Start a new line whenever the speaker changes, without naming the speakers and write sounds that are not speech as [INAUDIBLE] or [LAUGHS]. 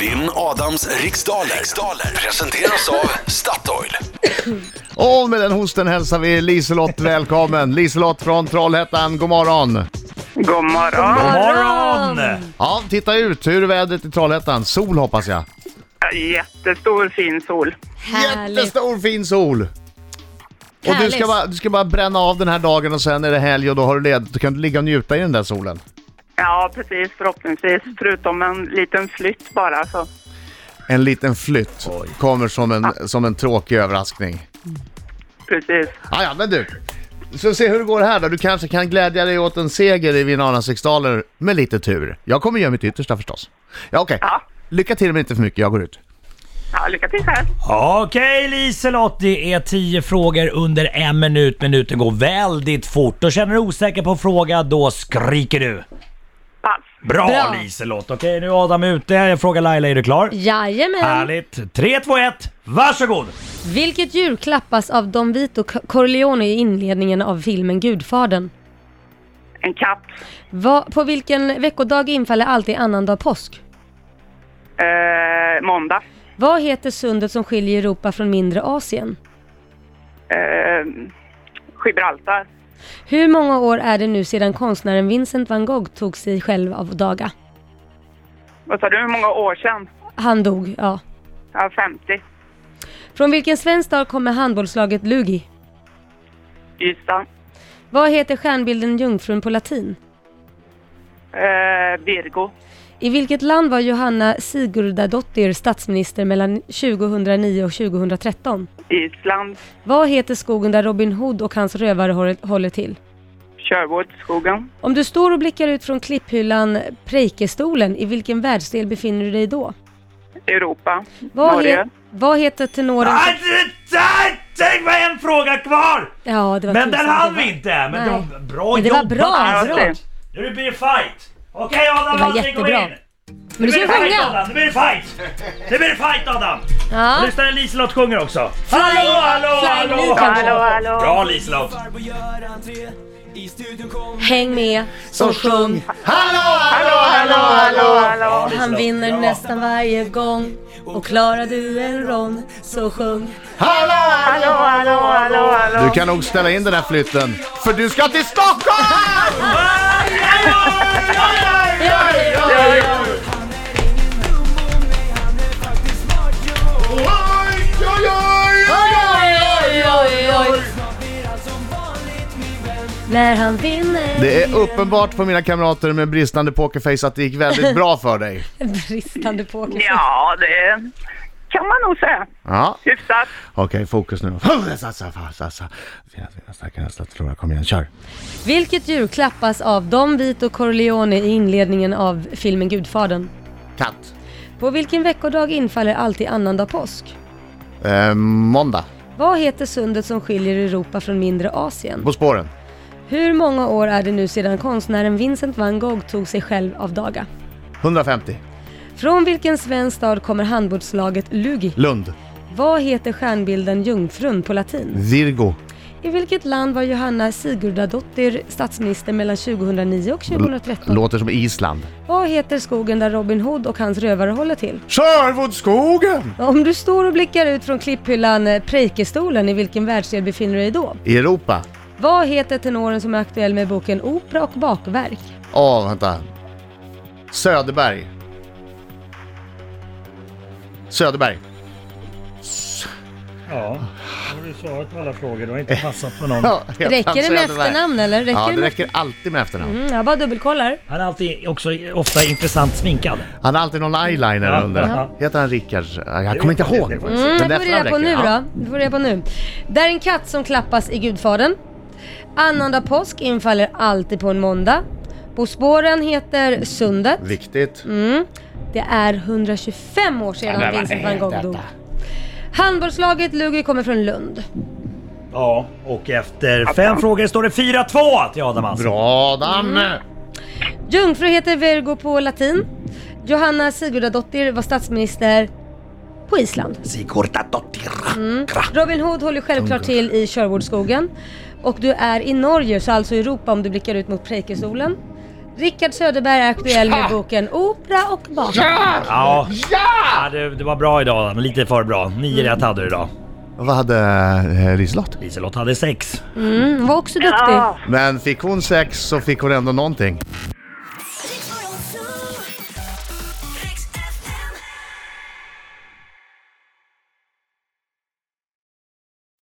Vinn Adams riksdaler. riksdaler. Presenteras av Statoil.
Och med den hosten hälsar vi Liselott välkommen. Liselott från Trollhättan, god morgon.
God morgon.
morgon!
Ja, titta ut. Hur är vädret i Trollhättan? Sol hoppas jag.
Jättestor fin sol.
Härligt!
Jättestor fin sol. Och du ska,
Härligt.
bara, du ska bara bränna av den här dagen och sen är det helg och då har du ledigt. Då kan du ligga och njuta i den där solen.
Ja, precis. Förhoppningsvis. Förutom en liten flytt bara. Så.
En liten flytt kommer som en, som en tråkig överraskning.
Precis.
Ah, ja, men du. Så se hur det går här då. Du kanske kan glädja dig åt en seger i Vinanas riksdaler med lite tur. Jag kommer göra mitt yttersta förstås. Ja, okej.
Ja.
Lycka till men inte för mycket. Jag går ut.
Ja, lycka till själv.
Okej Liselott, det är 10 frågor under en minut. Minuten går väldigt fort och känner du osäker på en fråga, då skriker du.
Pass.
Bra,
Bra.
Liselott! Okej, nu är Adam ute. Jag frågar Laila, är du klar?
Jajamän!
Härligt! 3, 2, 1, varsågod!
Vilket djur klappas av Don Vito Co- Corleone i inledningen av filmen Gudfadern?
En katt.
Va, på vilken veckodag infaller alltid annandag påsk?
Eh, måndag.
Vad heter sundet som skiljer Europa från mindre Asien?
Eh, Gibraltar.
Hur många år är det nu sedan konstnären Vincent van Gogh tog sig själv av daga?
Vad sa du? Hur många år sedan?
Han dog, ja.
Ja, 50.
Från vilken svensk stad kommer handbollslaget Lugi?
Ystad.
Vad heter stjärnbilden Jungfrun på latin?
Eh, Virgo.
I vilket land var Johanna Sigurdardottir statsminister mellan 2009 och 2013?
Island.
Vad heter skogen där Robin Hood och hans rövare hår- håller till?
Sherwoodskogen.
Om du står och blickar ut från klipphyllan Preikestolen, i vilken världsdel befinner du dig då?
Europa.
Vad,
Norge.
he- vad heter tenoren...
Ah, det- där- Tänk vad en fråga kvar!
Ja, det var
Men den
tusan,
hann
det var-
vi inte! Men det
Nej.
var bra
Men det var
jobbat
bra,
bra.
Liselott! Nu blir det fight! Okej Adam,
Det var
Alsing, kom in!
jättebra. Men
Nu
du
blir
ska
det fight
sjunga!
Adam, nu blir det fight! Nu blir det fight Adam!
Ja.
Lyssna när Liselott sjunger också.
Fly,
hallå, hallå,
fly,
hallå,
nu kan du.
Hallå, hallå.
Bra Liselott!
Häng med, så sjung!
Hallå,
Hallå, hallå, hallå.
Han vinner nästan varje gång och klarar du en rond, så sjung!
hallå!
Hallå, hallå, hallå, hallå.
Du kan nog ställa in den här flytten, för du ska till Stockholm!
När han vinner
Det är uppenbart för mina kamrater med bristande pokerface att det gick väldigt bra för dig.
[LAUGHS] Bristande poker.
Ja, det kan man nog säga.
Ja,
Hyfsat.
okej fokus nu. Satsa, satsa. Fina, fina, starka nästa, förlora, kom igen, kör.
Vilket djur klappas av Don Vito Corleone i inledningen av filmen Gudfadern?
Katt.
På vilken veckodag infaller alltid annandag påsk?
Eh, måndag.
Vad heter sundet som skiljer Europa från mindre Asien?
På spåren.
Hur många år är det nu sedan konstnären Vincent van Gogh tog sig själv av daga?
150.
Från vilken svensk stad kommer handbollslaget Lugi?
Lund.
Vad heter stjärnbilden Jungfrun på latin?
Virgo.
I vilket land var Johanna Sigurdardottir statsminister mellan 2009 och 2013?
Låter som Island.
Vad heter skogen där Robin Hood och hans rövare håller till?
Sherwoodskogen!
Om du står och blickar ut från klipphyllan eh, Preikestolen, i vilken världsdel befinner du dig då?
I Europa.
Vad heter tenoren som är aktuell med boken Opera och bakverk?
Åh, vänta. Söderberg. Söderberg. [LAUGHS]
Ja, nu har du svarat på alla frågor. Du har inte passat på någon.
Ja, heter han
Räcker det med
Söderberg?
efternamn eller? Räcker
Ja,
det
det
med...
räcker alltid med efternamn.
Mm, jag bara dubbelkollar.
Han är alltid också ofta intressant sminkad.
Han har alltid någon eyeliner
Ja,
under.
ja.
Heter han Rickard? Ja, Jag kommer inte ihåg.
Mm,
Men
Mm, det får vi
efternamn
reda på nu
räcker.
då.
Ja.
Det får vi reda på nu. Där är en katt som klappas i Gudfadern. Annandag påsk infaller alltid på en måndag. På spåren heter Sundet.
Viktigt.
Mm. Det är 125 år sedan
men vad
Vincent
är
van Gogh
detta?
dog. Handbollslaget Lugi kommer från Lund.
Ja, och efter fem frågor står det 4-2 till Adam alltså. Alsing.
Bra Adam!
Mm. Jungfru heter Virgo på latin. Johanna Sigurdardottir var statsminister på Island. Mm. Robin Hood håller självklart till i Sherwoodskogen. Och du är i Norge, så alltså Europa om du blickar ut mot Preikestolen. Rickard Söderberg är aktuell med boken Opera och bak.
Ja, ja det, det var bra idag. men Lite för bra. Nio rätt hade du idag.
Vad hade eh, Liselott?
Liselott hade sex.
Mm, var också duktig.
Ja.
Men fick hon sex så fick hon ändå någonting.